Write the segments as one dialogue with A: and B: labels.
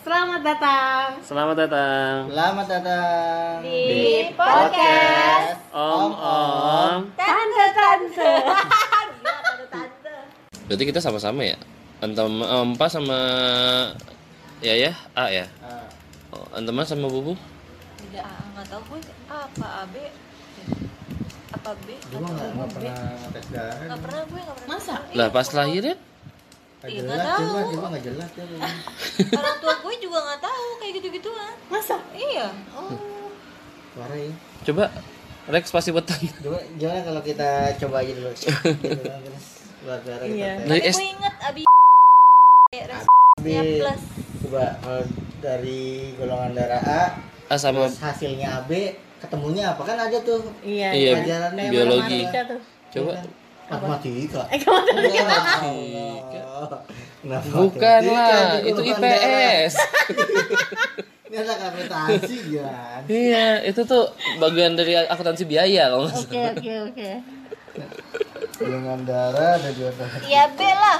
A: Selamat datang
B: Selamat datang
C: Selamat datang
A: di podcast
B: Om Om.
A: Tante-tante. Gila, Tante-tante.
B: Berarti kita sama-sama ya? Antam Empa sama ya ya A ya.
C: Ah,
B: Oh, Antama sama Bubu?
D: Tidak, ah, nggak tahu gue A apa AB apa B
C: Dulu
D: atau
C: nggak nggak
D: B.
C: pernah tes darah.
D: Nggak pernah gue nggak pernah
A: Masa?
D: Iya,
B: Lah pas lahir ya?
C: Nggak
D: Iya,
C: jelas,
D: nggak tahu.
C: coba coba nggak jelas ya. Bu.
D: orang tua gue juga nggak tahu kayak gitu gituan
A: Masa?
D: iya oh
C: Suara ya.
B: Coba Rex pasti weton.
C: Coba gimana kalau kita coba aja dulu. Gitu kan, terus Keluar darah kita
A: Iya.
C: tes.
B: Dari
D: tapi
B: S-
D: gue inget abi
C: Tapi,
B: iya.
D: nya plus
C: Coba kalau dari golongan darah A,
B: A Ah, sama
C: terus hasilnya AB, ketemunya apa kan ada tuh Iya kan?
A: Iya.
B: Iya,
A: Pelajaran
B: bi- biologi.
A: matematika tuh.
B: coba
C: matematika.
A: Eh, kamu tuh
C: Ya Allah. Kenapa matematika
B: Bukanlah,
C: di
B: itu
C: golongan Iya, darah?
B: IPS.
C: Ini ada kalkulasi kan.
B: iya, itu tuh bagian dari akuntansi biaya kalau nggak salah.
A: Oke, oke, oke.
C: Golongan darah ada dua darah.
D: ya B lah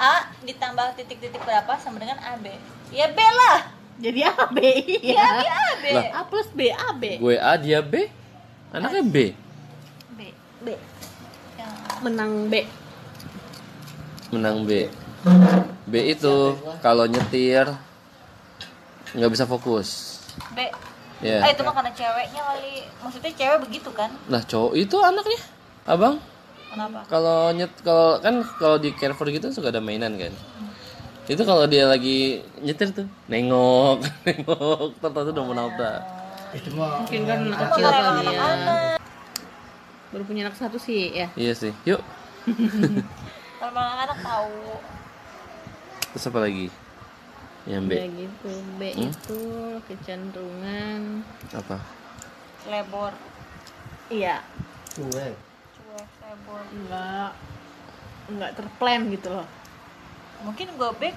D: A ditambah titik-titik berapa sama dengan AB ya B lah
A: Jadi AB.
D: ya
A: Iya.
D: B AB
B: Lah.
A: A plus B AB.
B: Gue A, dia B. Anaknya B.
D: B
A: B.
D: Ya.
A: Menang B.
B: menang B B itu kalau nyetir nggak bisa fokus
D: B
B: ya
D: ah itu mah karena ceweknya kali maksudnya cewek begitu kan
B: nah cowok itu anaknya abang
D: kenapa
B: kalau nyet kalau kan kalau di Carrefour gitu suka ada mainan kan itu kalau dia lagi nyetir tuh nengok nengok ternyata udah mau nabrak
C: Itu mah
A: Mungkin kan anak kecil
D: Kalau
A: kali ya.
D: anak-anak
A: Baru punya anak satu sih ya.
B: iya sih yuk
D: kalau anak-anak tahu
B: terus apa lagi yang
A: Ya
B: B Hmm?
A: gitu. B itu kecenderungan
B: apa
D: lebor
A: iya,
C: cuek.
D: cuek lebor
A: enggak enggak terplan gitu loh.
D: mungkin gue B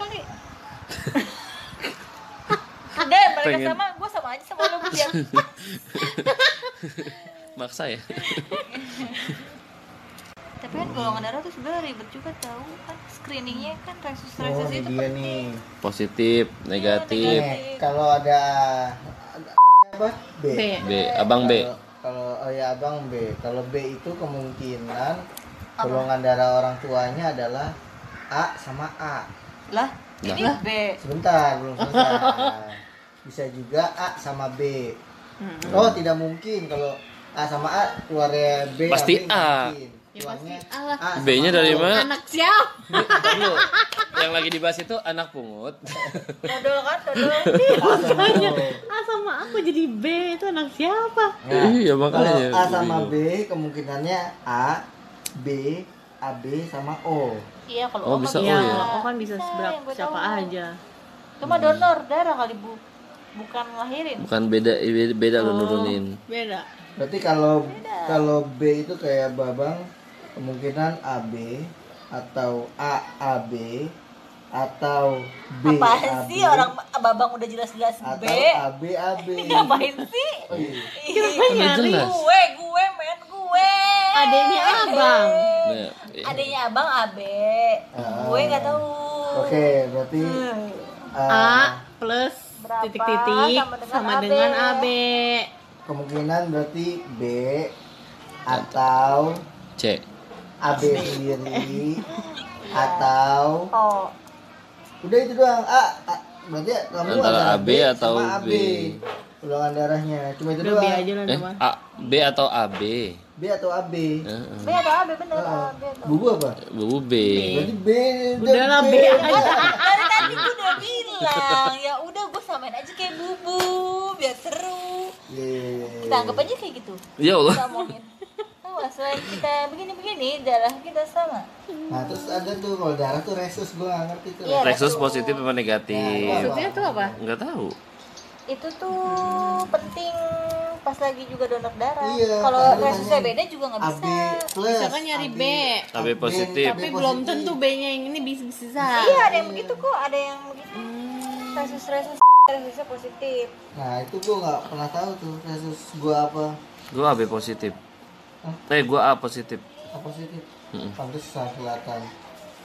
D: kali deh mereka
B: Pengen.
D: sama gue sama aja sama lu biar
B: maksa ya
D: tapi kan golongan darah tuh sebenarnya ribet juga tahu kan screeningnya kan resus
C: Oh,
D: resus
C: ini
D: itu
C: dia nih.
B: positif
A: Iya.
B: negatif
C: Eh, kalau ada ada siapa? B.
A: B.
B: B abang B
C: Kalau- Kalau oh ya Abang B. Kalau B itu kemungkinan golongan darah orang tuanya adalah A sama A.
D: lah ini
B: Lah.
D: B
C: Sebentar, belum selesai. Bisa juga A sama B.
A: Hmm.
C: Oh, tidak mungkin kalau A sama A keluarnya B
B: Pasti
C: nggak
B: A.
C: mungkin.
A: Ya,
C: Keluarnya
A: pasti A lah.
C: A sama
B: B-nya dari
C: O.
B: mana?
A: Anak siapa?
B: Bentar dulu. yang lagi dibahas itu anak pungut
D: dodol kan dodol
C: A sama O.
A: A Ah, sama aku jadi B itu anak siapa?
C: Nah,
B: Iya, makanya
C: Kalau A
B: gue
C: sama B kemungkinannya A, B, AB sama O.
D: iya kalau
B: Oh,
D: O mah
B: bisa O
A: Iya,
B: ya?
A: oh kan bisa seberapa
D: yang gue
A: siapa
D: tahu.
A: aja.
D: cuma donor darah kali bu bukan lahirin
B: bukan beda beda, beda lo nurunin
A: Oh, Beda.
C: Berarti kalau kalau B itu kayak Babang kemungkinan AB atau A AB atau B
D: apaan
C: AB
D: sih orang babang udah jelas-jelas B
C: atau AB AB.
D: ngapain sih
C: Oh, iya.
D: Ih,
B: Kan Udah jelas
D: gue gue men gue
A: Adeknya
B: Nah,
A: abang.
B: iya.
D: adanya abang abe
C: Ah.
D: gue nggak tahu
C: Oke, berarti
D: Hmm.
B: Ah.
C: uh,
A: A plus
D: Berapa
A: titik-titik
D: sama dengan
A: sama
D: AB?
A: dengan AB.
C: kemungkinan berarti B atau
B: C
C: AB sendiri atau
D: oh
C: Udah itu doang. A, A. berarti kamu
B: Antara
C: antara
B: AB atau
C: sama AB.
B: B.
C: Golongan darahnya cuma itu
A: Udah B
C: doang.
A: aja lah
B: eh
A: sama.
B: A B atau AB
C: B atau AB.
B: Heeh.
D: b atau abe bener
C: Ah,
D: abe atau
C: Bubu apa?
B: Bu B
C: Berarti B.
A: Udah lah B aja.
D: dari Ah, tadi gue udah bilang ya udah gue samain aja kayak bubu biar seru
C: Iya,
D: kita anggap aja kayak gitu
B: ya Allah
D: kita omongin Oh, selain kita begini-begini, darah kita sama.
C: Nah, terus ada tuh kalau darah tuh resus gua nggak ngerti tuh.
D: Iya.
B: Rexus positif apa negatif
A: Maksudnya tuh apa?
B: nggak tahu
D: Itu tuh penting pas lagi juga donor darah.
C: Iya,
D: Kalau
C: makanya.
D: resusnya beda juga nggak
C: AB
D: bisa. kan
C: plus.
A: Misalkan nyari B.
B: AB positif.
A: Tapi belum tentu B-nya yang ini bisa bisa.
D: Iya, ada yang begitu kok, ada yang begitu.
C: Hmm.
D: Resus resus resusnya positif.
C: Nah, itu gua nggak pernah tahu tuh resus gua apa.
B: gue AB positif eh gue A positif
C: Apa sih itu? Pantesan kelihatan.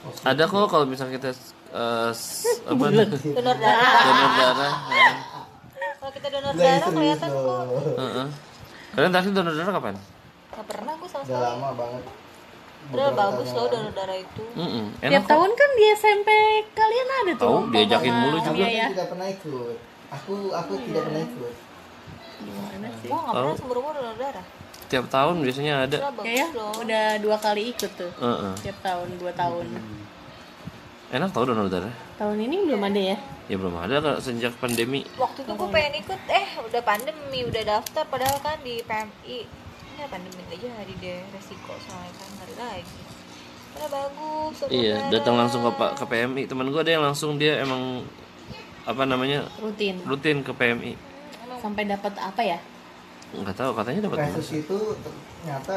C: Oh,
B: ada kok kalau misalnya kita eh, s- apa donor
D: Donor
C: Iya.
D: darah.
B: darah ya.
D: Kalau kita donor
C: Lah,
D: darah
C: Iya, serius
D: kelihatan
C: loh.
D: kok.
B: Heeh. kalian terakhir donor darah kapan
D: Gak pernah gue sama
C: Udah
D: sekali.
C: lama banget.
D: Padahal bagus loh donor darah itu.
B: Mm-mm. enak
A: Tiap
B: kok
A: tahun kan di SMP kalian ada tuh.
B: Tahu,
A: lomba
B: diajakin
A: sama
B: mulu juga.
A: Mia ya.
C: Aku tidak pernah ikut. Aku aku
D: Iya.
C: tidak pernah ikut.
A: Gimana sih?
D: Gue gak
B: Tahu.
D: pernah seumur umur donor darah.
B: tiap tahun biasanya
D: Padahal
B: ada
A: Ya, ya,
D: bagus loh.
A: udah dua kali ikut tuh.
B: Heeh.
A: Tiap tahun, dua tahun.
B: enak tau donor darah
A: Tahun ini belum
D: Iya.
A: ada ya?
B: ya belum ada kalau sejak pandemi
D: Waktu itu gue pengen ikut, eh udah pandemi, udah daftar. Padahal kan di PMI. Ya pandemi aja hari deh, resiko soalnya kan hari lagi. Padahal bagus. donor
B: iya
D: darah.
B: datang langsung ke Pak- ke PMI teman gue ada yang langsung dia emang apa namanya
A: Rutin.
B: rutin ke PMI
A: Sampai dapat apa ya?
B: nggak tahu katanya dapat
C: Kasus itu ternyata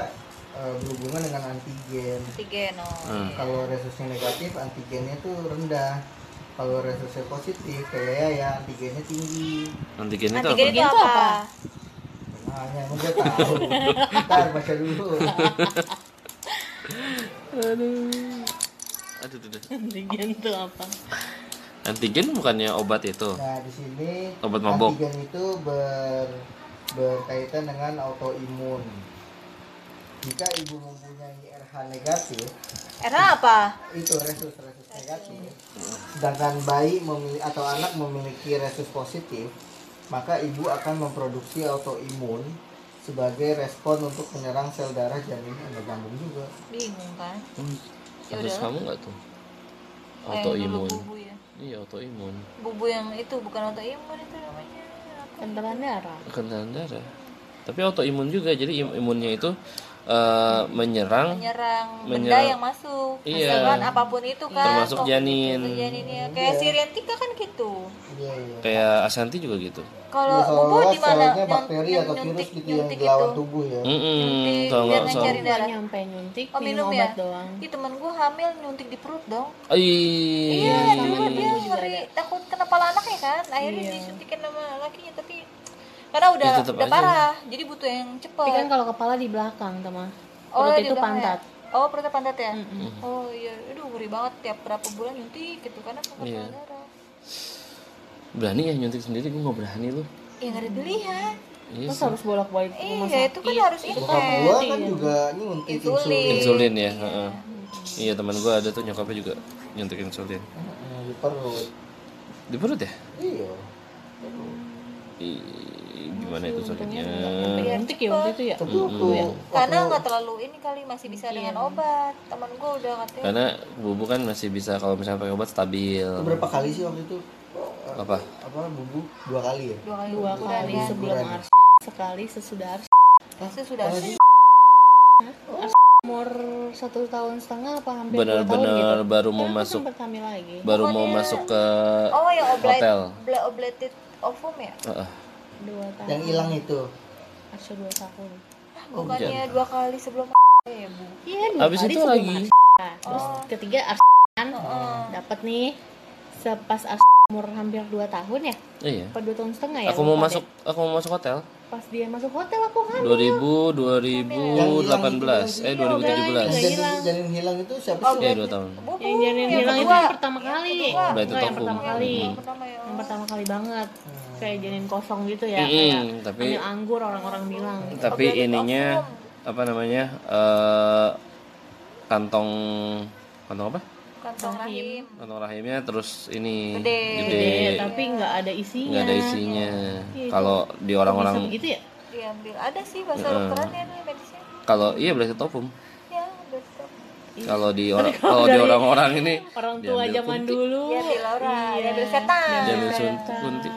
C: eh, berhubungan dengan antigen.
D: Antigen,
B: Ah.
D: oh. iya.
C: Kalau resusnya negatif, antigennya tuh rendah. Kalau resusnya positif, kayak ya antigennya tinggi.
B: antigen itu apa
D: Antigen ya? itu apa?
A: Antigen itu apa?
C: Nah, yang gue tahu. Ntar baca dulu.
B: aduh, aduh, aduh.
A: Antigen tuh apa?
B: antigen bukannya obat itu
C: Nah, di sini
B: Obat mabok.
C: antigen itu ber berkaitan dengan autoimun. Jika ibu mempunyai RH negatif,
D: Era apa?
C: itu resus resus negatif. Sedangkan bayi memiliki atau anak memiliki resus positif, maka ibu akan memproduksi autoimun sebagai respon untuk menyerang sel darah janin yang kandung juga.
D: Bingung kan?
B: kasus kamu
D: Eh,
B: nggak tuh
D: Kayak dulu
B: autoimun
D: Bubu ya.
B: iya autoimun
D: Bubu yang itu bukan autoimun itu namanya. Apa?
A: Kentelan darah.
B: kendaraan darah tapi autoimun juga jadi im- imunnya itu eh, menyerang
D: Menyerang benda
B: Menyerang.
D: yang masuk.
B: Iya.
D: Misalkan apapun itu kan.
B: Termasuk
D: COVID
B: janin.
D: itu janinnya. Kayak Siriantika kan gitu.
C: Iya iya.
B: kayak asanti juga gitu
D: Kalau
C: Ya,
D: bubu
C: seolah
D: di mana?
C: selnya bakteri atau virus gitu yang dilawan tubuh ya.
B: Mm-mm,
D: Nyuntik,
B: tau nggak
D: biar
B: soal
D: Cari darah.
A: Nggak nyampe nyuntik,
D: Oh,
A: minum,
D: minum ya?
A: obat doang.
D: Ih, temen gue hamil nyuntik di perut dong.
B: Ih,
D: Iya, sama dia ngeri takut kena pala anaknya kan.
C: Iya.
D: Akhirnya disuntikin sama lakinya tapi karena udah
B: Ya, tetep
D: udah
B: aja.
D: parah. Jadi butuh yang cepet.
A: Tapi kan kalau kepala di belakang, teman. Perut
D: Oh. di belakang
A: itu
D: ya?
A: pantat.
D: Oh, perutnya pantat ya? Oh iya, aduh gurih banget tiap berapa bulan nyuntik gitu karena
B: Iya.
D: pengetahuan darah.
B: berani ya nyuntik sendiri gue nggak berani loh
D: Ya nggak ada pilihan.
B: Iya
A: Terus
B: sih.
A: harus bolak-balik ke rumah
D: Iya, itu kan harus
C: Bokap
D: ingat.
C: gua kan juga nyuntik
D: Insulin.
C: insulin.
B: insulin ya heeh. iya teman gue ada tuh nyokapnya juga nyuntik insulin
C: Heeh, Di perut.
B: di perut ya
C: Iya.
B: Ih, gimana itu sakitnya
A: sakit. Nyuntik ya waktu itu ya?
C: Tapi waktu
D: Iya. Karena nggak terlalu ini kali masih bisa dengan obat. Temen gue udah katanya
B: karena bubu kan masih bisa kalau misalnya pakai obat stabil
C: berapa kali sih waktu itu? eh,
B: apa
C: Apa bubu dua kali ya?
D: dua kali
A: Dua kali
D: ya.
A: sebelum
C: Kuburan.
A: ars sekali sesudah ars
D: Sesudah sih.
A: umur satu tahun setengah apa hampir dua tahun gitu.
B: benar-benar baru mau
A: Kan aku
B: masuk
A: sempat hamil lagi.
B: baru mau masuk ke
D: Oh yang oblate,
B: hotel
D: bla- oblated ovum ya?
B: Heeh.
A: Dua tahun.
C: Yang hilang itu.
A: Ars dua tahun.
D: Bukannya dua kali sebelum ya bu?
A: Iya, dua
B: Abis
A: kali
B: itu
A: sebelum
B: lagi.
A: ars. Nah, Terus ketiga ars kan dapat nih sepas ars umur hampir dua tahun ya?
B: iya
A: Apa dua tahun setengah ya?
B: aku mau
A: Lupa
B: masuk aku mau masuk hotel
A: deh. Pas dia masuk hotel
B: Oh,
A: aku hamil.
B: 2000 2018 eh
A: Yang
B: 2017
A: hilang.
C: Janin, janin hilang itu siapa sih?
D: Oh,
B: ya dua tahun
D: Bubu,
A: Yang janin
D: yang
A: hilang itu
D: kedua.
A: yang pertama kali.
D: kedua.
B: Berarti
A: Enggak, yang
B: toko.
A: pertama kali.
D: Yang
B: Hmm.
D: pertama ya.
A: Yang pertama kali banget. Kayak janin kosong gitu ya.
B: Mm-mm,
A: Kayak
B: Hmm, tapi-
A: hamil anggur orang-orang bilang. gitu.
B: tapi
D: Oblated
B: ininya
D: ovum.
B: apa namanya eh kantong kantong apa
D: kantong rahim.
B: kantong rahimnya terus ini
D: Gede.
A: Gede, Eh, tapi nggak ada isinya.
B: nggak ada isinya
A: Iya, itu
B: kalau di orang-orang
A: Bisa begitu ya?
D: Diambil. Ada sih bahasa dokterannya ada medisnya.
B: kalau iya berarti topum
D: Ya, betul.
A: Iya.
B: kalau di orang kalau di orang-orang ini
A: Orang tua
B: diambil
A: zaman
B: kuntik,
A: dulu.
D: Ya, di Laura,
A: Iya.
D: diambil setan.
B: diambil sun- kuntik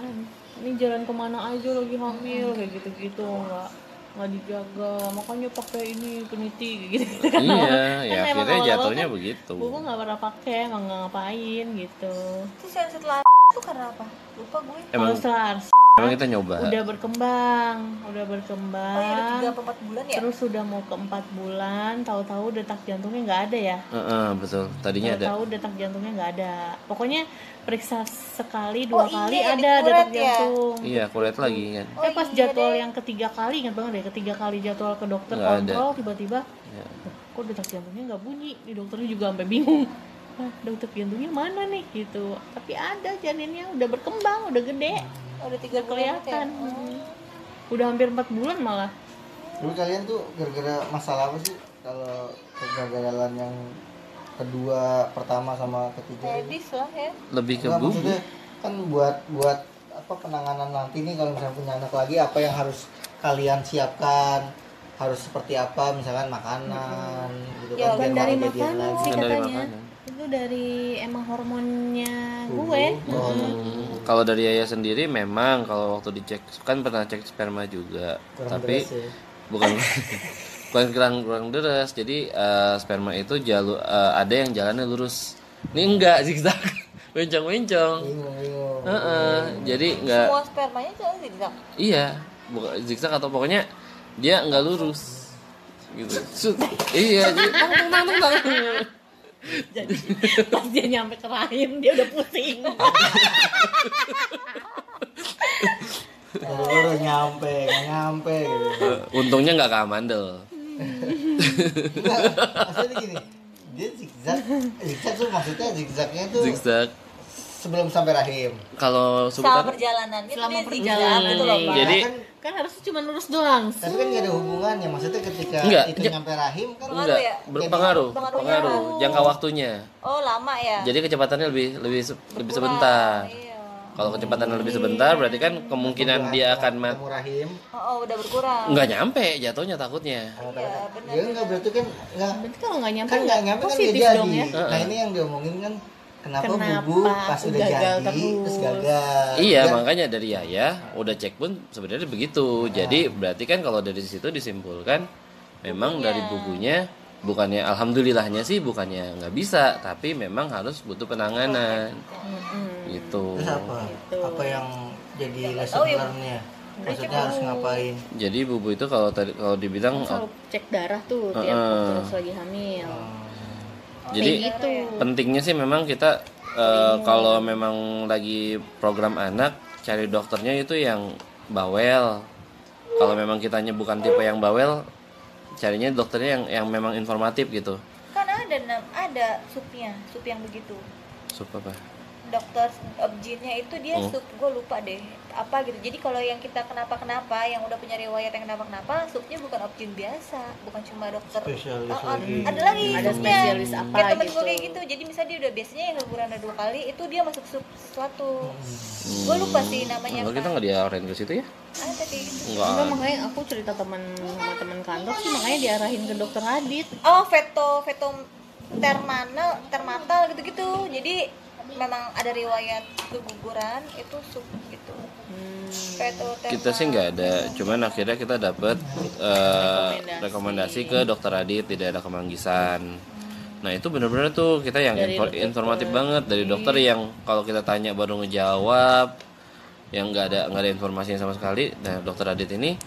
A: Ini jalan kemana aja lagi hamil kayak gitu-gitu nggak nggak dijaga makanya pakai ini peniti gitu gitu
B: iya ya akhirnya
A: emang awal-awal
B: jatuhnya
A: kan
B: begitu
A: buku nggak pernah pakai emang nggak ngapain gitu
D: Terus yang setelah itu karena apa? Lupa gue.
B: emang
A: Kalau setelah ars-
B: emang kita nyoba
A: udah berkembang udah berkembang
D: Oh, ya udah tiga apa empat bulan ya?
A: Ah. terus sudah mau ke empat bulan tahu-tahu detak jantungnya nggak ada ya
B: Heeh, betul tadinya ada
A: tahu detak jantungnya nggak ada pokoknya periksa sekali dua
D: Oh, iya,
A: kali
D: yang
A: ada
D: dikuret
A: detak
D: ya? Oh, iya
A: jantung
B: iya kulit lagi kan
A: eh pas jadwal yang ketiga kali ingat banget deh ketiga kali jadwal ke dokter
B: Nggak ada.
A: kontrol tiba-tiba
B: Ya.
A: "Loh, kok detak jantungnya nggak bunyi di dokternya juga sampai bingung "Wah, dokter jantungnya mana nih gitu tapi ada janinnya udah berkembang udah gede
D: Oh, udah tiga
A: Udah
D: bulan gitu ya?
A: kelihatan.
D: Oh.
A: Mm. udah hampir empat bulan malah
C: Tapi kalian tuh gara-gara masalah apa sih? Kalau kegagalan yang kedua, pertama sama ketiga ini?
D: Medis lah ya.
B: lebih ke
C: Enggak,
B: bubuk
C: maksudnya kan buat buat apa penanganan nanti nih kalau misalnya punya anak lagi apa yang harus kalian siapkan harus seperti apa misalkan makanan gitu
D: Ya,
C: kan biar
A: bukan dari
C: nggak kejadian
A: makanan
C: lagi.
A: sih
B: Bukan dari
A: katanya
B: makanan.
A: itu dari emang hormonnya
C: Tubuh.
A: gue
C: Oh.
B: Hmm, kalau dari ayah sendiri memang kalau waktu dicek kan pernah cek sperma juga
C: Kurang
B: tapi
C: beres ya.
B: bukan bukan kurang kurang deres jadi eh, sperma itu jalur eh, ada yang jalannya lurus ini enggak zigzag wencong wencong
C: bingung bingung
B: jadi enggak
D: Semua spermanya jalan zigzag.
B: iya buka zigzag atau pokoknya dia enggak lurus gitu Sut. iya jadi tang, tang, tang, tang, tang.
A: jadi pas dia nyampe ke rahim dia udah pusing
C: Baru nyampe nggak nyampe gitu.
B: Eh, untungnya nggak ke Amandel
C: Enggak, maksudnya gini dia zigzag zigzag tuh maksudnya zigzagnya tuh
B: zigzag
C: sebelum sampai rahim
B: kalau
D: Selama
B: sebutan
D: perjalanannya tuh
A: Selama
D: dia zigzag
A: perjalanan,
D: gitu loh, Pak.
B: Jadi-
C: Nah, kan,
A: kan harusnya cuma lurus doang
C: tapi kan nggak ada hubungannya maksudnya ketika
B: Enggak,
C: itu
B: ja-
C: nyampe rahim kan
B: enggak
D: ya?
B: berpengaruh
D: Pengaruhnya
B: pengaruh
D: apa?
B: jangka waktunya
D: Oh, lama ya.
B: jadi kecepatannya lebih lebih se- lebih
D: Kurang,
B: sebentar
D: Iya.
B: Kalau kecepatannya lebih sebentar berarti kan kemungkinan dia akan ma-
C: ketemu rahim
D: Oh, oh, udah berkurang.
B: nggak nyampe jatuhnya takutnya.
D: Iya, benar.
C: Ya enggak berarti kan enggak
A: berarti kalau nggak nyampe
C: kan enggak nyampe kan dia
A: positif
C: jadi.
A: dong ya
C: Nah, ini yang diomongin kan kenapa,
A: Kenapa
C: bubuk pas udah
A: gagal
C: jadi
A: terus.
C: terus gagal.
B: Iya,
C: Dan
B: makanya dari Yaya udah cek pun sebenarnya begitu. Jadi berarti kan kalau dari situ disimpulkan memang dari bukunya bukannya alhamdulillahnya sih bukannya nggak bisa, tapi memang harus butuh penanganan.
A: Hmm.
B: Gitu.
C: terus apa? Apa yang jadi lesson
D: tahu ya, Bu.
C: learn-nya? Maksudnya harus ngapain?
B: Jadi bubu itu kalau tadi kalau dibilang
A: selalu cek darah tuh tiap
B: Heeh.
A: terus lagi hamil
D: Oh,
B: jadi
A: kayak
D: ya.
A: gitu
B: pentingnya sih memang kita eh, kalau memang lagi program anak cari dokternya itu yang bawel kalau memang kitanya bukan tipe yang bawel carinya dokternya yang yang memang informatif gitu
D: Kan ada nam- ada supnya, sup yang begitu.
B: sup apa
D: dokter objinnya itu dia
B: Hmm.
D: sup gue lupa deh apa gitu jadi kalau yang kita kenapa kenapa yang udah punya riwayat yang kenapa kenapa supnya bukan objin biasa bukan cuma dokter
C: Spesialis
D: Oh, oh,
C: lagi.
D: ada lagi
A: Ada
D: supnya.
A: spesialis apa
D: kayak temen gue
A: gitu.
D: kayak gitu jadi misalnya dia udah biasanya yang liburan ada dua kali itu dia masuk sup sesuatu
A: Hmm.
D: gue lupa sih namanya
B: Enggak, kita
D: apa
B: gitu nggak diarahin ke situ ya
D: ada kayak gitu
A: Enggak,
B: enggak
A: makanya aku cerita teman sama teman kantor sih makanya diarahin ke dokter Adit
D: oh veto veto termanal termatal gitu gitu jadi memang ada riwayat keguguran itu sup gitu
A: Hmm.
D: veto
B: kita sih nggak ada cuman akhirnya kita dapat eh, rekomendasi ke dokter Adit di daerah Kemanggisan nah itu bener-bener tuh kita yang info- informatif banget dari dokter yang kalau kita tanya baru ngejawab yang nggak ada nggak ada informasinya sama sekali nah dokter Adit ini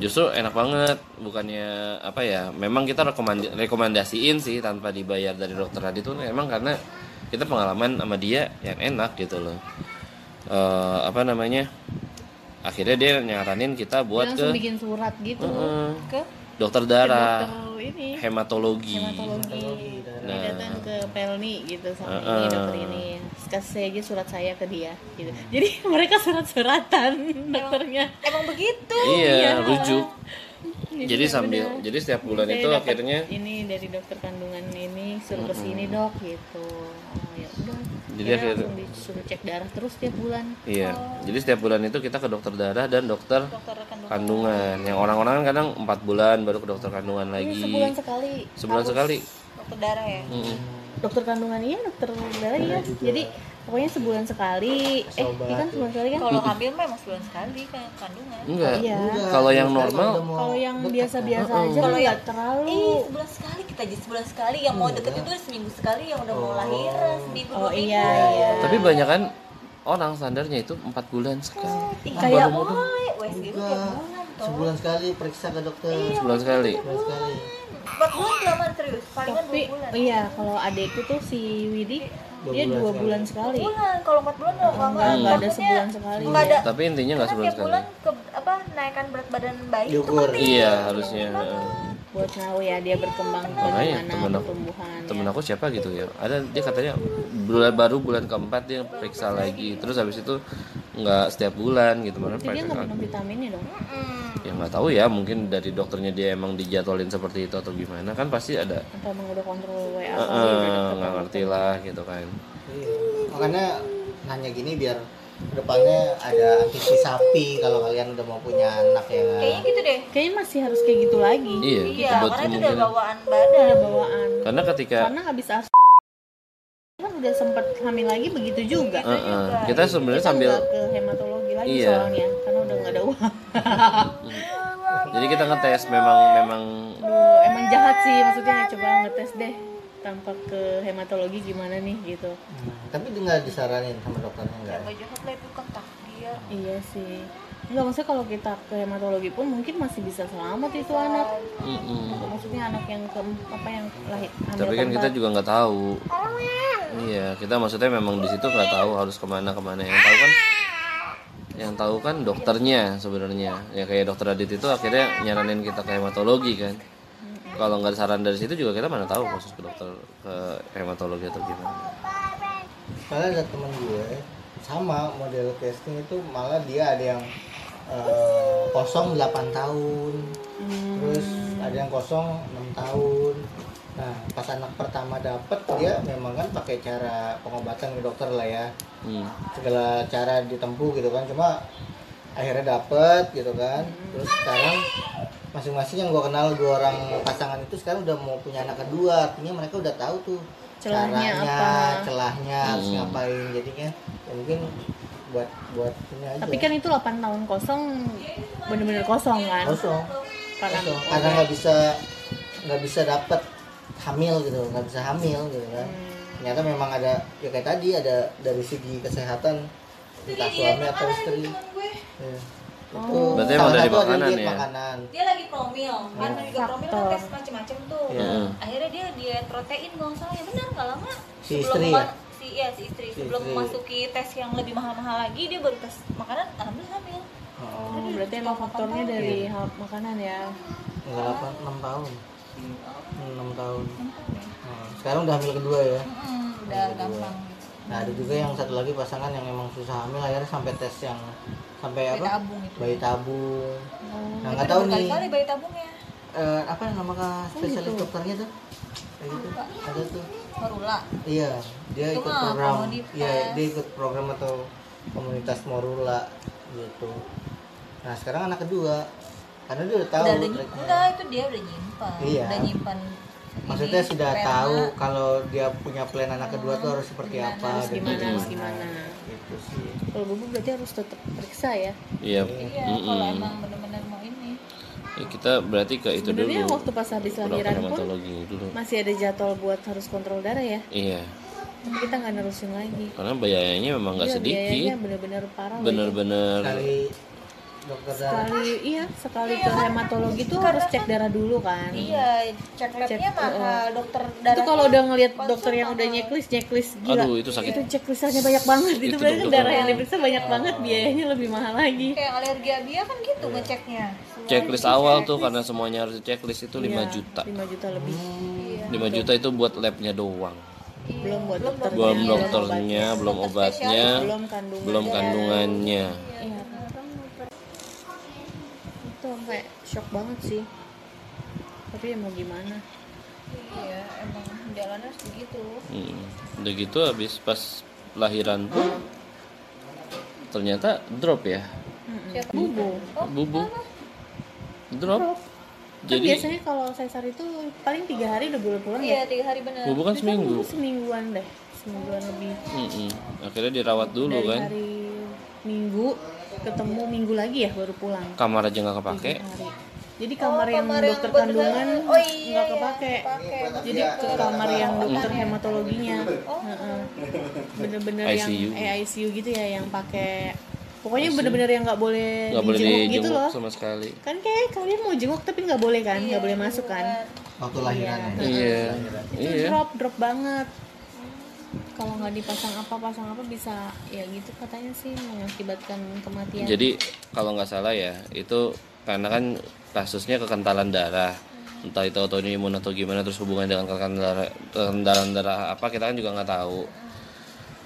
B: justru enak banget bukannya apa ya memang kita rekomend rekomendasiin sih tanpa dibayar dari dokter Adit tuh emang karena kita pengalaman sama dia yang enak gitu loh Eh, apa namanya akhirnya dia nyaranin kita
A: dia
B: buat ke
A: langsung
B: Ah.
A: bikin surat gitu
B: eh,
D: ke
B: dokter
A: ke
B: darah
A: dokter ini
B: hematologi
A: hematologi
C: darah.
A: dia datang ke Pelni gitu
B: Nah.
A: sama
B: Heeh.
A: ini dokter ini Terus kasih aja surat saya ke dia gitu jadi mereka surat-suratan dokternya
D: emang begitu
B: iya rujuk jadi
A: ya
B: sambil
A: udah.
B: jadi setiap bulan
A: Saya
B: itu
A: Iya, dapat
B: akhirnya
A: ini dari dokter kandungan ini suruh ke sini dok gitu oh, ya udah
B: Jadi
A: Dia
B: akhirnya-
A: langsung disuruh cek darah terus tiap bulan
B: Iya, jadi setiap bulan itu kita ke dokter darah dan dokter
D: dokter kandungan
B: kandungan. Yang orang-orang kan kadang empat bulan baru ke dokter kandungan
A: Ini
B: lagi.
A: sebulan sekali
B: Sebulan sekali.
D: dokter darah ya
A: dokter kandungan iya dokter darah iya
B: gitu.
A: jadi pokoknya sebulan sekali eh iya kan sebulan sekali kan
D: kalau hamil mah emang sebulan sekali kan kandungan
B: Enggak.
A: Iya.
B: Kalau yang
C: Dokter
B: normal,
C: udah mau
A: kalau yang
C: deket.
A: biasa-biasa aja
D: Kalau
A: kalau
D: yang-
A: nggak terlalu
D: Ih, sebulan sekali kita aja sebulan sekali yang mau deket itu seminggu sekali yang udah mau lahiran seminggu dua
A: oh
D: minggu
A: iya iya
B: tapi banyak kan orang standarnya itu empat bulan sekali.
D: Ih, kayak
B: baru mau
D: mulai USG itu tiap
C: Enggak.
D: bulan toh
C: Sebulan sekali periksa ke dokter.
D: Iya.
B: Sebulan sekali.
C: Sebulan sekali.
D: empat bulan kelamaan serius palingan
A: tapi
D: dua bulan
A: iya kalau adekku tuh si Widi
C: Dua
A: dia
C: bulan
A: dua
C: sekali.
D: Dua
A: bulan sekali
D: bulan kalau empat bulan udah lama
A: nggak nggak ada sebulan sekali
D: nggak ada
B: Tapi intinya
D: Iya.
B: nggak
D: kan
B: sebulan
D: tiap
B: sekali.
D: bulan ke apa naikkan berat badan bayi itu
C: Diukur.
D: kan
B: Iya, harusnya. Heeh.
A: buat tahu ya dia berkembang
B: Makanya,
A: bagaimana
B: temen aku-
A: pertumbuhan
B: temen aku siapa gitu ya ada dia katanya bulan baru bulan keempat dia periksa lagi terus habis itu nggak setiap bulan gitu mana
A: Jadi dia nggak
B: periksa
A: minum vitaminnya dong
D: Mm.
B: ya nggak tahu ya mungkin dari dokternya dia emang dijadwalin seperti itu atau gimana kan pasti ada
A: atau emang udah kontrol WA
B: "Eh,
A: kali udah
B: eh, nggak
A: deket Iya, banget.
B: ngerti lah gitu kan
C: Iya. Makanya nanya gini biar kedepannya ada anti sapi kalau kalian udah mau punya anak ya.
D: kayaknya gitu deh
A: kayaknya masih harus kayak gitu lagi
B: iya
D: iya
B: buat
D: karena itu udah
B: kemungkinan
D: bawaan badan
A: ada bawaan
B: karena ketika
A: karena habis as kan udah sempet hamil lagi begitu juga
B: eh, eh, kita sebenarnya
A: Kita
B: sambil
A: nggak ke hematologi lagi
B: Iya.
A: soalnya karena udah nggak ada uang
B: jadi kita ngetes memang memang
A: Aduh, emang jahat sih maksudnya ya, coba ngetes deh tanpa ke hematologi gimana nih gitu
C: Hmm, tapi nggak disaranin sama dokternya enggak.
D: nggak jahat lah itu kan takdir
A: iya sih Enggak, maksudnya kalau kita ke hematologi pun mungkin masih bisa selamat itu anak
B: mm-mm.
A: maksudnya anak yang ke apa yang lahir hamil
B: tapi kan kita
A: keempat.
B: juga nggak tahu iya kita maksudnya memang di situ nggak tahu harus kemana kemana yang tahu kan yang tahu kan dokternya sebenarnya ya kayak dokter Adit itu akhirnya nyaranin kita ke hematologi kan kalau nggak ada saran dari situ juga kita mana tahu khusus ke dokter ke hematologi atau gimana
C: Malah ada temen gue sama model casting itu malah dia ada yang eh, kosong 8 tahun, terus ada yang kosong 6 tahun. Nah, pas anak pertama dapet dia memang kan pakai cara pengobatan ke dokter lah ya.
B: Hmm.
C: segala cara ditempuh gitu kan cuma akhirnya dapet gitu kan terus sekarang masing-masing yang gue kenal dua orang pasangan itu sekarang udah mau punya anak kedua artinya mereka udah tahu tuh
A: Celahnya
C: caranya
A: apa.
C: celahnya harus
B: Hmm.
C: ngapain jadinya ya mungkin buat buat ini aja
A: tapi kan itu 8 tahun kosong bener-bener kosong kan
C: kosong
A: karena
C: kosong karena nggak bisa nggak bisa dapet hamil gitu nggak bisa hamil gitu kan
A: Hmm.
C: ternyata memang ada ya kayak tadi ada dari segi kesehatan entah suami atau istri
D: gue
C: Iya.
A: Oh.
B: Berarti
C: Salah
B: emang dari
C: satu ada
B: makanan
C: diet
B: ya?
C: Makanan.
D: dia lagi promil kan juga promil kan
A: Faktor.
D: tes macam-macam tuh
C: Oh. Iya.
B: Hmm,
D: akhirnya dia diet protein kalau nggak salah ya benar nggak lama
C: Si istri
D: ma-
C: ya?
D: si iya si istri sebelum
C: istri.
D: memasuki tes yang lebih mahal-mahal lagi dia baru tes makanan alhamdulillah hamil
C: Oh,
A: Oh, berarti emang faktornya dari hal- makanan ya
C: enggak apa 6 tahun.
D: Hmm,
C: 6 tahun. Oh, Sekarang udah hamil kedua ya.
D: Mm, udah gampang gitu
C: Nah, ada juga yang satu lagi pasangan yang emang susah hamil akhirnya sampai tes yang sampai
D: bayi
C: apa?
D: tabung itu
C: Bayi tabung. Nah, nggak
D: Tapi
C: tahu nih
D: berkali-kali Oh, gitu. bayi tabungnya
C: eh, apa nama kah spesialis dokternya tuh? Kayak gitu. Ada tuh.
D: merula
C: Iya, dia
D: Itu
C: ikut
D: mah
C: program.
D: komoditas.
C: Iya, dia ikut program atau komunitas Morula gitu. Nah, sekarang anak kedua karena dia udah tahu.
D: udah ada
C: treknya.
D: enggak itu dia udah nyimpan
C: Iya.
D: udah nyimpan
C: Maksudnya
D: ini,
C: sudah
D: sperma.
C: tahu kalau dia punya plan anak kedua tuh harus seperti
D: gimana,
C: apa
D: harus
C: dan
A: gimana, harus gimana.
C: Gitu sih.
A: kalau bubu berarti harus tetap periksa ya
B: iya
D: iya kalau
B: Mm-mm.
D: emang bener-bener mau ini
B: Ya, kita berarti ke itu
A: sebenarnya
B: dulu
A: waktu pas habis
B: ke
A: lahiran pun
B: hematologi dulu
A: masih ada jadwal buat harus kontrol darah ya
B: iya
A: Tapi kita nggak nerusin lagi
B: karena biayanya memang nggak
A: Gila, Iya, biayanya
B: sedikit
A: bener-bener parah loh itu.
B: bener-bener
C: Sekali dokter darah
A: sekali iya sekali ke hematologi tuh harus cek darah dulu kan
D: iya cek labnya mahal
C: eh.
D: dokter darah
A: itu kalau udah ngelihat dokter yang udah nyeklis nyeklis gila
B: aduh itu sakit
A: itu checklistannya banyak banget itu,
B: Itu
A: berarti
B: dokter.
A: darah yang diperiksa banyak banget biayanya lebih mahal lagi
D: kayak alergi abia kan gitu
A: Iya.
D: ngeceknya Semua
B: checklist awal tuh karena semuanya harus di checklist itu 5
A: Iya,
B: juta
A: 5 juta lebih
B: 5 juta itu buat labnya doang
A: Iya, belum
D: Iya,
A: buat dokter
B: belum dokternya belum obatnya
A: belum kandungan
B: belum kandungannya
A: Iya. itu sampai shock banget sih tapi ya mau gimana
D: iya emang jalannya harus begitu
B: Hmm. udah gitu habis pas lahiran pun ternyata drop ya
D: Siapa?
A: bubu
B: bubu drop
A: Oh, kan
B: jadi
A: biasanya kalau sesar itu paling tiga hari udah boleh pulang ya
D: iya tiga hari bener
B: bubu kan
A: Tapi kan bubu
B: seminggu
A: semingguan deh semingguan lebih
B: Mm-mm. akhirnya dirawat dulu
A: dari
B: kan
A: hari minggu ketemu minggu lagi ya baru pulang
B: kamar aja nggak kepake
A: hari jadi kamar yang
D: kamar yang
A: dokter
D: buat
A: kandungan
D: dokter- oh iya,
A: nggak
D: iya,
A: kepake
D: pakai
A: jadi ke kamar yang dokter hematologinya
D: Oh.
A: Heeh. bener-bener yang
B: ICU.
A: eh, ICU gitu ya yang pakai pokoknya bener-bener yang nggak boleh
B: nggak boleh
A: dijenguk gitu
B: dijenguk
A: loh
B: sama sekali
A: kan kayak kalian mau jenguk tapi nggak boleh kan
D: Iya,
A: nggak boleh masuk kan
C: waktu lahiran.
B: iya
A: itu
B: iya
A: drop drop banget kalau nggak dipasang apa pasang apa bisa ya gitu katanya sih mengakibatkan kematian
B: Jadi kalau nggak salah ya itu karena kan kasusnya kekentalan darah. entah itu autoimun atau gimana terus hubungannya dengan tekanan darah tekanan darah apa kita kan juga nggak tahu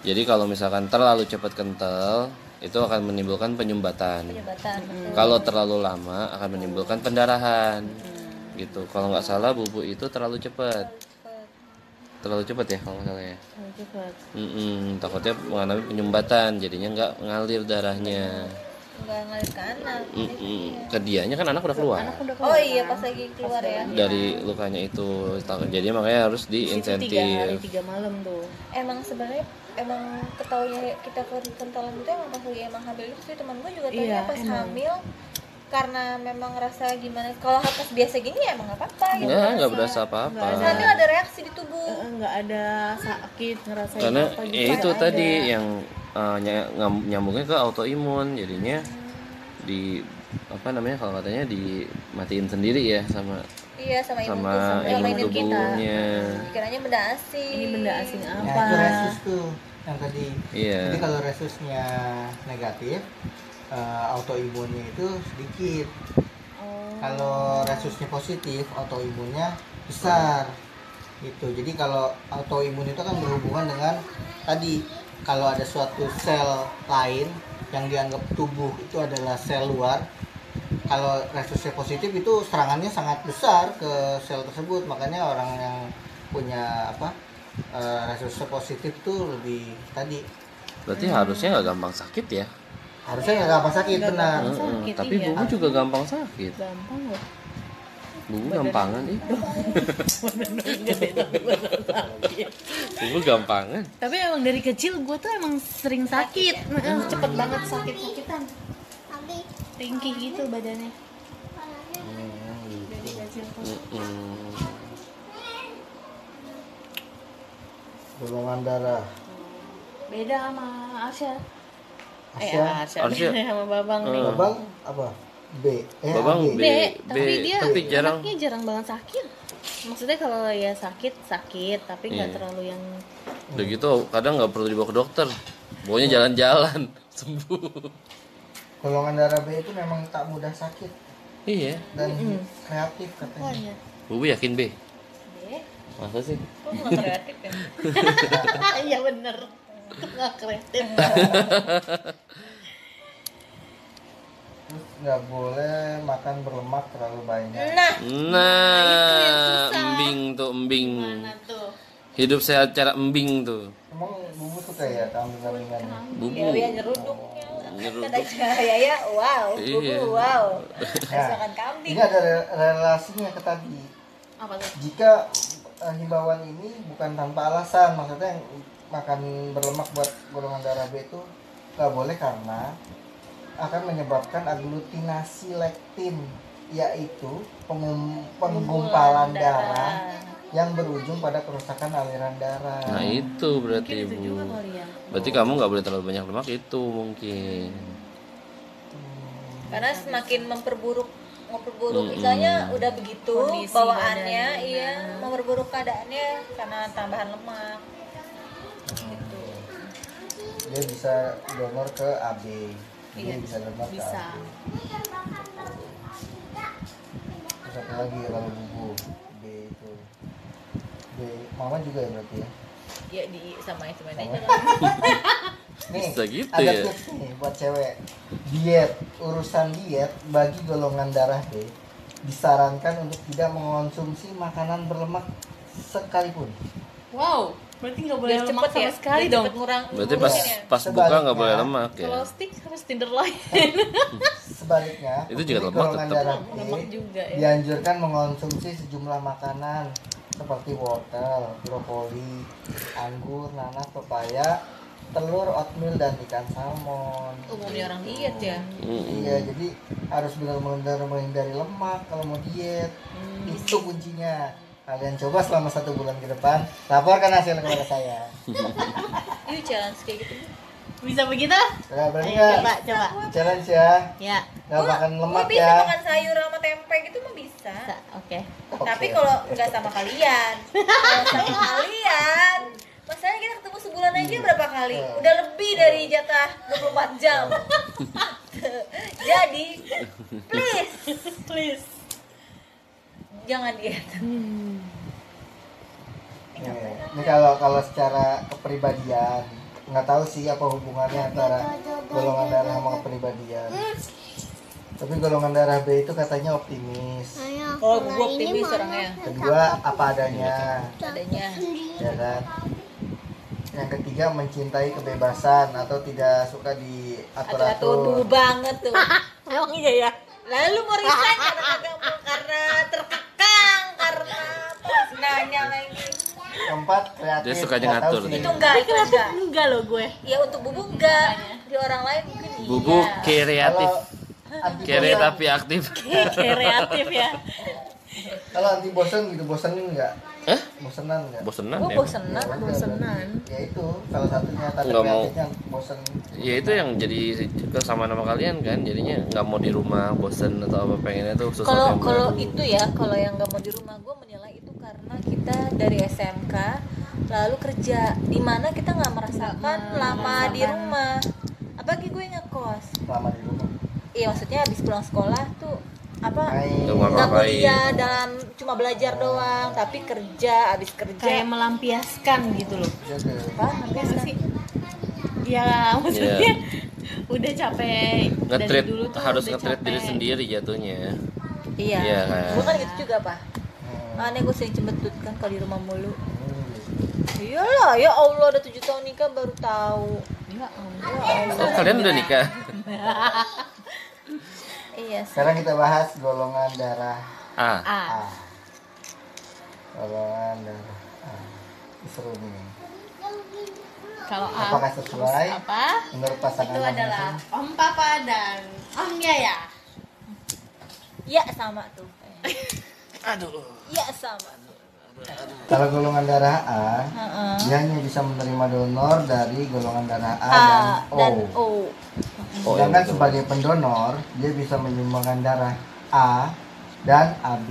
B: jadi kalau misalkan terlalu cepat kental itu akan menimbulkan penyumbatan
D: Penyumbatan.
B: kalau terlalu lama akan menimbulkan pendarahan gitu kalau nggak salah bubuk itu terlalu cepat terlalu cepat ya kalau nggak salah ya
A: Ayo cepat.
B: Mm-mm, takutnya mengalami penyumbatan jadinya nggak ngalir darahnya
D: Enggak ngalir ke anak.
A: Mm.
B: Mm-mm. ke dianya kan anak udah keluar
A: Anak udah
D: Oh
A: keluar.
D: iya pas lagi keluar ya.
B: dari lukanya itu Tak- jadi makanya harus
A: Itu tiga hari
B: diinsentif
A: tiga malam tuh.
D: Emang sebenarnya emang ketahuinya kita kentalan itu emang pas lagi emang hamil itu sih teman gue juga tanya
A: Iya,
D: pas
A: emang.
D: hamil karena memang rasa gimana kalau pas biasa gini ya emang nggak apa-apa gitu.
B: nggak Nah, nggak
D: Rasa-
B: berasa
D: Pas
B: apa-apa
D: hamil ada reaksi di tubuh.
A: Eh, nggak ada sakit ngerasain
B: karena
A: apa gitu
B: ya itu
A: nggak ada.
B: tadi yang uh, ny- ngam- nyambungnya ke autoimun jadinya di apa namanya kalau katanya dimatiin sendiri ya sama
D: Iya sama imun
B: sama
D: tubuh, sama
B: imun
D: imun kita.
B: tubuhnya
D: Pikirannya benda asing.
A: ini benda asing
C: Nah, itu
A: apa
C: resus tuh yang tadi. Jadi
B: iya
C: kalau resusnya negatif, eh, autoimunnya itu sedikit. Kalau resusnya positif, autoimunnya besar. Gitu. Jadi kalau autoimun itu kan berhubungan dengan tadi kalau ada suatu sel lain yang dianggap tubuh itu adalah sel luar. Kalau resusnya positif itu serangannya sangat besar ke sel tersebut. Makanya orang yang punya apa? eh, resusnya positif tuh lebih tadi
B: berarti harusnya nggak gampang sakit ya
C: harusnya nggak gampang sakit
A: Nggak
C: benar
A: Gampang
B: Heeh,
A: sakit,
B: tapi
A: iya.
B: bubu juga gampang sakit
A: gampang loh
B: bubu gampangan ih
A: Nggak beda beneran sakit.
B: bubu gampangan
A: tapi emang dari kecil gue tuh emang sering sakit Heeh, cepet banget sakit sakitan tinggi gitu badannya dari kecil tuh
B: Mm-mm.
C: Hmm. golongan darah
A: beda sama Arsya eh
C: Arsya.
A: Arsya
B: Arsya.
A: beda sama Babang nih
B: Heeh.
C: babang apa B eh
B: Babang
C: AB.
B: Oh, B,
A: B,
B: B,
A: tapi dia
B: tapi jarang
A: anaknya jarang banget sakit maksudnya kalau ya sakit sakit tapi nggak
B: Iya.
A: terlalu yang
B: udah gitu kadang nggak perlu dibawa ke dokter pokoknya jalan-jalan sembuh
C: golongan darah B itu memang tak mudah sakit
B: iya
C: dan kreatif katanya
A: banyak
B: bubu yakin B
A: Deh.
B: masa sih
D: Kok nggak kreatif ya?
A: iya bener nggak kreatif
B: Nah.
C: terus nggak boleh makan berlemak terlalu banyak
D: Nah,
B: Nah, embing tuh embing.
A: nah tuh
B: Hidup sehat cara embing tuh.
C: emang bubu suka ya kambing kambingan
D: ya
A: Iya,
B: Bubu.
D: ya nyeruduknya.
B: Nyeruduk.
D: Kata ya ya wow,
B: Iya.
D: bubu wow. Masakan kambing.
C: Nah, ini ada re- relasinya ke tadi
A: apa tuh
C: jika eh, himbauan ini bukan tanpa alasan maksudnya yang makan berlemak buat golongan darah B itu nggak boleh karena akan menyebabkan aglutinasi lektin yaitu pengum- penggumpalan darah yang berujung pada kerusakan aliran darah
B: Nah itu berarti
A: mungkin itu
B: bu.
A: juga kali ya
B: Berarti kamu nggak boleh terlalu banyak lemak itu mungkin.
D: Karena semakin memperburuk memperburuk misalnya udah begitu
A: Kondisi
D: bawaannya
A: badannya.
D: iya memperburuk keadaannya karena tambahan lemak gitu
C: dia bisa donor ke AB dia bisa donor ke
A: bisa
C: AB Terus apa lagi ya kalau bubu B itu B mama juga ya berarti ya
D: ya di sama itu aja
C: Sama.
D: lah.
C: Nih,
B: Bisa gitu
C: ada
B: ya?
C: tips nih buat cewek. Diet, urusan diet bagi golongan darah B disarankan untuk tidak mengonsumsi makanan berlemak sekalipun.
A: wow berarti nggak boleh
D: biar
A: lemak
D: cepet
A: sama
D: ya
A: sekali
D: biar
A: dong
D: cepet ngurang
B: Berarti pas
D: ngurusin ya.
B: pas buka nggak boleh
C: Sebaliknya.
B: lemak ya.
A: Iya. kalau stick harus tinder lain
C: Sebaliknya,
B: Itu juga
C: untuk
B: lemak
C: golongan
B: tetap.
C: darah B
A: lemak juga ya
C: dianjurkan mengonsumsi sejumlah makanan seperti wortel, brokoli, anggur, nanas, pepaya, telur, oatmeal dan ikan salmon.
D: umumnya orang diet ya
B: Mm-mm.
C: Iya, jadi harus benar-benar menghindari lemak kalau mau diet.
D: Hmm,
C: Itu
D: iya.
C: kuncinya. Kalian coba selama satu bulan ke depan, laporkan hasil kepada saya.
D: yuk challenge kayak gitu
A: bisa begitu
C: Udah berani
A: Ayo,
C: nggak?
A: coba coba
C: Challenge ya,
A: ya
C: nggak makan
D: Gua
C: lemak
D: bisa
C: ya.
D: makan sayur sama tempe gitu mah bisa
A: bisa oke
C: Oke.
D: tapi kalau nggak sama kalian kalau sama kalian masalahnya kita ketemu sebulan aja berapa kali udah lebih dari jatah 24 jam jadi please
A: please
D: jangan diet
A: Hmm.
C: Iya. Ini kalau kalau secara kepribadian nggak tahu sih apa hubungannya antara golongan darah sama kepribadian. Tapi golongan darah B itu katanya optimis.
D: oh gue optimis
A: ya.
D: orangnya
C: Kedua apa adanya,
D: adanya
C: ya kan? Yang ketiga mencintai kebebasan atau tidak suka
D: atur
C: diatur
D: atur
C: atur.
D: dulu banget tuh
A: Emang iya ya?
D: lalu mau resign karena kagak mau karena terkekang karena pas nanya lagi
C: Keempat kreatif.
B: Dia sukanya
C: Nggak tahu
B: ngatur
C: sih.
D: itu enggak itu enggak
A: Enggak loh gue.
D: ya untuk bubu enggak di orang lain mungkin iya.
B: Bubu kreatif.
C: Kalau Iya. anti
B: Kere
C: bosan-
B: tapi aktif.
A: Kreatif ya.
C: Kalau anti bosan gitu bosanin nggak?
B: Hah?
C: Bosenan nggak?
B: Bosenan
D: gue
B: ya.
D: bosenan
A: Bosenan.
C: Ya itu salah satunya tanda
B: Nggak mau.
C: kreatifnya bosan.
B: Ya itu yang jadi kesamaan sama kalian kan. Jadinya nggak mau di rumah, bosen atau apa pengennya tuh sesuatu
D: kalau
B: yang
D: kalau
B: baru.
D: itu ya kalau yang nggak mau di rumah gue menilai itu karena kita dari SMK lalu kerja di mana kita nggak merasakan lama di rumah apalagi gue ngekos
C: lama di rumah.
D: iya maksudnya habis pulang sekolah tuh apa
C: Main.
B: Nggak
D: nggak
B: ngapain.
D: kuliah dalam cuma belajar doang tapi kerja habis
A: Kayak
D: kerja
A: melampiaskan gitu loh.
C: Jaga.
D: apa
C: Iya
D: namanya sih
A: Ya maksudnya
B: Iya.
A: udah capek
B: Nge-treat,
A: dari dulu tuh
B: harus
A: udah
B: ngetreat
A: capek.
B: diri sendiri jatuhnya.
D: iya
B: Iya kan.
D: gue kan gitu juga pak
C: Hmm.
D: aneh gue sering cembetut kan kalau di rumah mulu
C: Hmm, gitu.
D: iyalah ya allah udah tujuh tahun nikah baru tahu
A: Ya ampun.
B: Oh, kalian udah nikah?
D: iya sih.
C: Sekarang kita bahas golongan darah
B: Ah,
A: Ah,
C: A. Golongan darah A. Ini Seru nih.
A: kalau A
C: Apakah sesuai
A: apa?
C: menurut pasangan
A: Itu adalah Om Papa dan Om Yaya.
D: Ya sama tuh. Aduh. Ya sama tuh.
C: masing-masing? Kalau golongan darah A,
D: Heeh.
C: dia hanya bisa menerima donor dari golongan darah
D: A
C: A,
D: Ah, dan
C: Ah, dan O.
D: O.
B: Oh, iya,
C: Sedangkan
B: betul.
C: sebagai pendonor, dia bisa menyumbangkan darah A dan AB.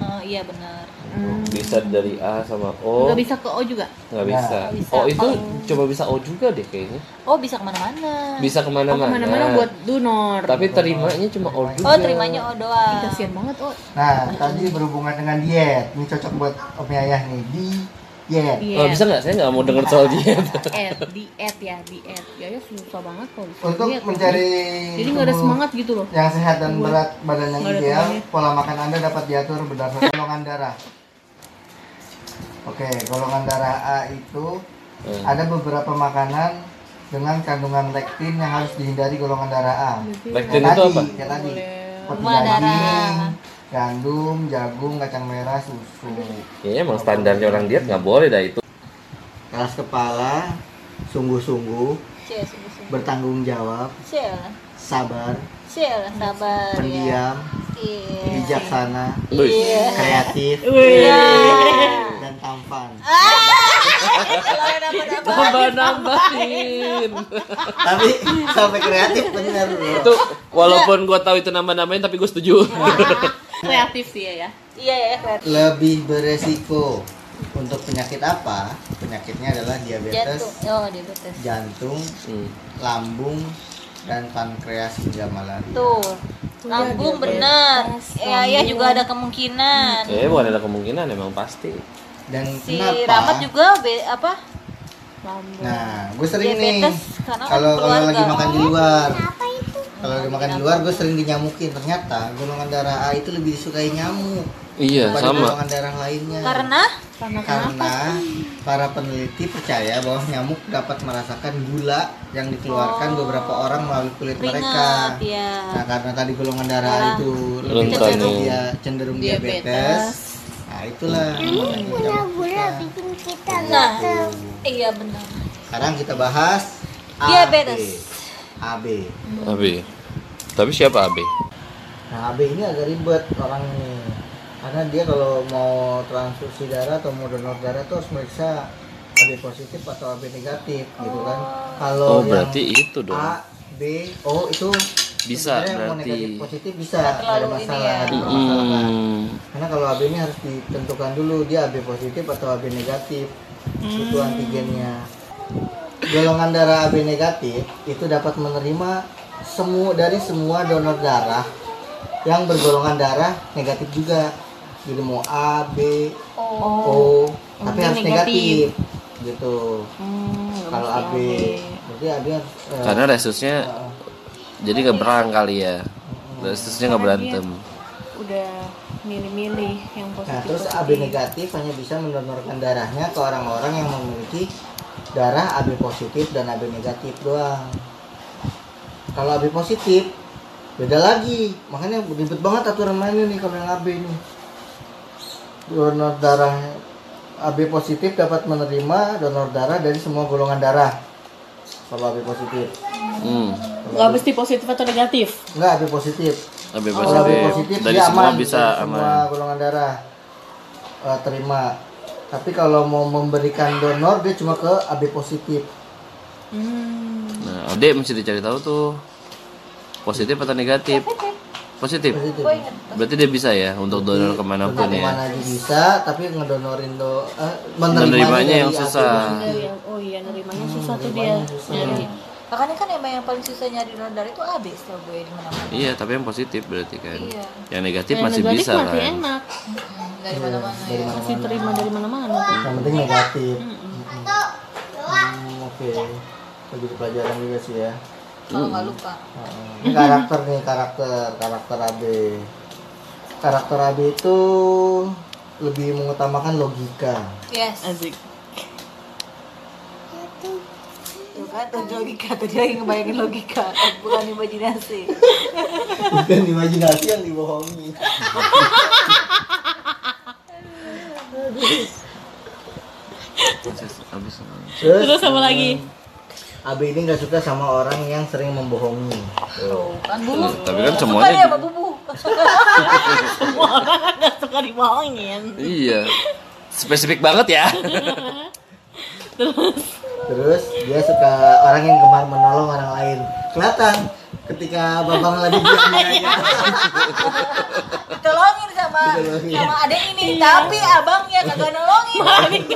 D: Oh, iya benar.
B: bisa dari A sama O.
A: Gak bisa ke O juga.
B: Nggak bisa.
C: Nggak
D: bisa.
B: Oh itu
D: Oh.
B: coba bisa O juga deh kayaknya.
D: Oh bisa kemana-mana.
B: Bisa
A: Oh,
B: kemana-mana.
A: kemana-mana buat donor.
B: Tapi terimanya cuma O juga.
D: Oh terimanya O doang.
A: Kasian banget oh.
C: Nah, tadi berhubungan dengan diet. Ini cocok buat Om Yayah nih. Di diet.
B: Oh,
A: iya.
B: bisa nggak? Saya nggak mau denger soal diet.
A: diet, diet ya, diet. Ya ya susah banget kalau bisa
C: Untuk
A: diet.
C: mencari Ya.
A: Jadi nggak ada
C: tubuh
A: semangat gitu loh.
C: yang sehat dan berat badan yang
A: Nggak ada
C: ideal,
A: temannya.
C: pola makan Anda dapat diatur berdasarkan golongan darah. Oke, golongan darah A itu
B: Hmm.
C: ada beberapa makanan dengan kandungan lektin yang harus dihindari golongan darah A.
B: Lektin
C: Kayak
B: itu
C: tadi,
B: apa?
C: kayak tadi. Seperti
D: Gula darah.
C: daging, gandum, jagung, kacang merah, susu.
B: Kayaknya emang standarnya orang diet nggak boleh dah itu.
C: keras kepala, sungguh-sungguh,
D: Cie, sungguh-sungguh.
C: bertanggung jawab,
D: Cie lah.
C: sabar,
D: Cie lah, sabar ya.
C: pendiam,
D: Iya.
C: bijaksana,
B: Luis.
C: Iya. kreatif, iya,
A: Wih,
C: dan tampan.
D: Eh, Kalau dapat
B: Nambah-nambahin.
C: Tapi sampai kreatif bener loh.
B: itu walaupun gue tahu itu nambah-nambahin tapi gue setuju. Hmm.
A: kreatif sih ya. ya.
D: Iya ya, kreatif.
C: Lebih beresiko untuk penyakit apa? Penyakitnya adalah diabetes,
D: Jantung. Oh, diabetes.
C: jantung,
B: Hmm.
C: lambung, dan pankreas hingga malaria.
D: Tuh. Lambung benar. Ya, ya juga ada kemungkinan.
B: Eh bukan ada kemungkinan emang pasti.
C: Dan
D: Si
C: kenapa?
D: Ramat juga be, apa?
A: Lambung.
C: Nah, gue sering nih
D: Diabetes Iya. karena kan
C: kalau kalau lagi
D: keluarga.
C: makan di luar. Kalau lagi makan di luar, gue sering dinyamukin. Ternyata golongan darah A itu lebih disukai nyamuk
B: Iya
C: daripada
B: sama.
C: golongan darah lainnya.
D: Karena
A: Karena kenapa?
C: Karena para peneliti percaya bahwa nyamuk dapat merasakan gula yang
D: Oh.
C: dikeluarkan beberapa orang melalui kulit mereka.
D: keringat ya.
C: Nah, karena tadi golongan darah
D: Iya.
C: A itu lebih
B: Rentan
C: cenderung
B: ya.
C: dia cenderung diabetes. Nah, itulah. makanya nyamuk kita.
D: Nah, iya benar.
C: Sekarang kita bahas
D: Diabetes.
C: AB. AB.
B: Abi. Tapi siapa Abi?
C: Nah, AB ini agak ribet orang ini. Karena dia kalau mau transfusi darah atau mau donor darah tuh harus meriksa AB positif atau AB negatif gitu kan.
B: Oh
C: Kalau yang
B: berarti itu dong.
C: A, B, O itu
B: Bisa,
C: sebenarnya mau
B: berarti.
C: negatif positif bisa nggak ada
D: terlalu ini
C: masalah,
D: ya.
C: nggak ada permasalahan.
B: Hmm.
C: Karena kalau AB ini harus ditentukan dulu dia AB positif atau AB negatif itu
A: Hmm.
C: antigennya. Golongan darah AB negatif itu dapat menerima semua dari semua donor darah yang bergolongan darah negatif juga. jadi mau A B
D: oh
C: O
A: yang
C: tapi
A: penting
C: harus
A: negatif.
C: negatif, gitu
A: Hmm, nggak
C: kalau
A: mesti
C: AB berarti AB harus eh,
B: Karena resusnya jadi keberang kali ya. Resusnya nggak berantem.
A: Udah milih-milih yang positif.
C: Nah, terus AB negatif hanya bisa mendonorkan darahnya ke orang-orang yang memiliki darah AB positif dan AB negatif doang. Kalau AB positif, beda lagi. Makanya ribet banget aturan mainnya nih kalau yang AB ini. Donor darah AB positif dapat menerima donor darah dari semua golongan darah. Kalau AB positif.
B: Hmm.
A: Nggak mesti positif atau negatif.
C: Enggak, AB positif.
B: Lebih
C: Kalau
B: Oh, positif.
C: positif
B: Dari
C: dia
B: semua
C: aman,
B: bisa
C: dari
B: aman.
C: semua golongan darah eh, terima tapi kalau mau memberikan donor dia cuma ke AB positif
A: Hmm.
B: Nah, adik mesti dicari tahu tuh positif atau negatif. Positif.
C: positif
B: Berarti dia bisa ya untuk donor
C: Donor
B: kemanapun ya.
C: kemana aja bisa tapi ngedonorin do eh, menerimanya
B: Menerimanya yang
C: dari AB
B: susah.
A: Dari yang- oh iya nerimanya susah tuh dia. Nyari.
D: makanya kan emang yang paling susah nyari donor darah itu AB setahu gue ya, di mana mana
B: Iya, tapi yang positif berarti kan.
D: Iya.
B: Yang negatif
A: Yang
B: masih
A: negatif
B: bisa
A: masih
B: kan.
A: enak.
D: dari mana mana
C: dari mana
A: Masih terima dari mana-mana. tuh.
C: yang penting negatif Mm-mm. Hmm, oke Itu jadi pelajaran juga sih ya
D: kalau nggak lupa
C: Heeh. Ini karakter nih karakter karakter AB karakter AB itu lebih mengutamakan logika
D: yes
A: Asik.
D: tuh kan tuh logika tadi lagi ngebayangin logika bukan imajinasi
C: bukan imajinasi yang dibohongi
B: Proses habis.
C: terus,
A: Terus apa lagi?
C: AB ini nggak suka sama orang yang sering membohongi
D: tuh kan bu
B: Nah, tapi kan
D: suka
B: semuanya
A: ya,
D: deh sama ya, bubu
A: Semua orang nggak suka dibohongin.
B: iya. Spesifik banget ya.
C: terus dia suka orang yang gemar menolong orang lain kelihatan ketika babang lagi diam
A: Iya.
C: aja
D: tolongin sama
C: Ditolongin.
D: sama adek ini tapi abangnya kagak nolongin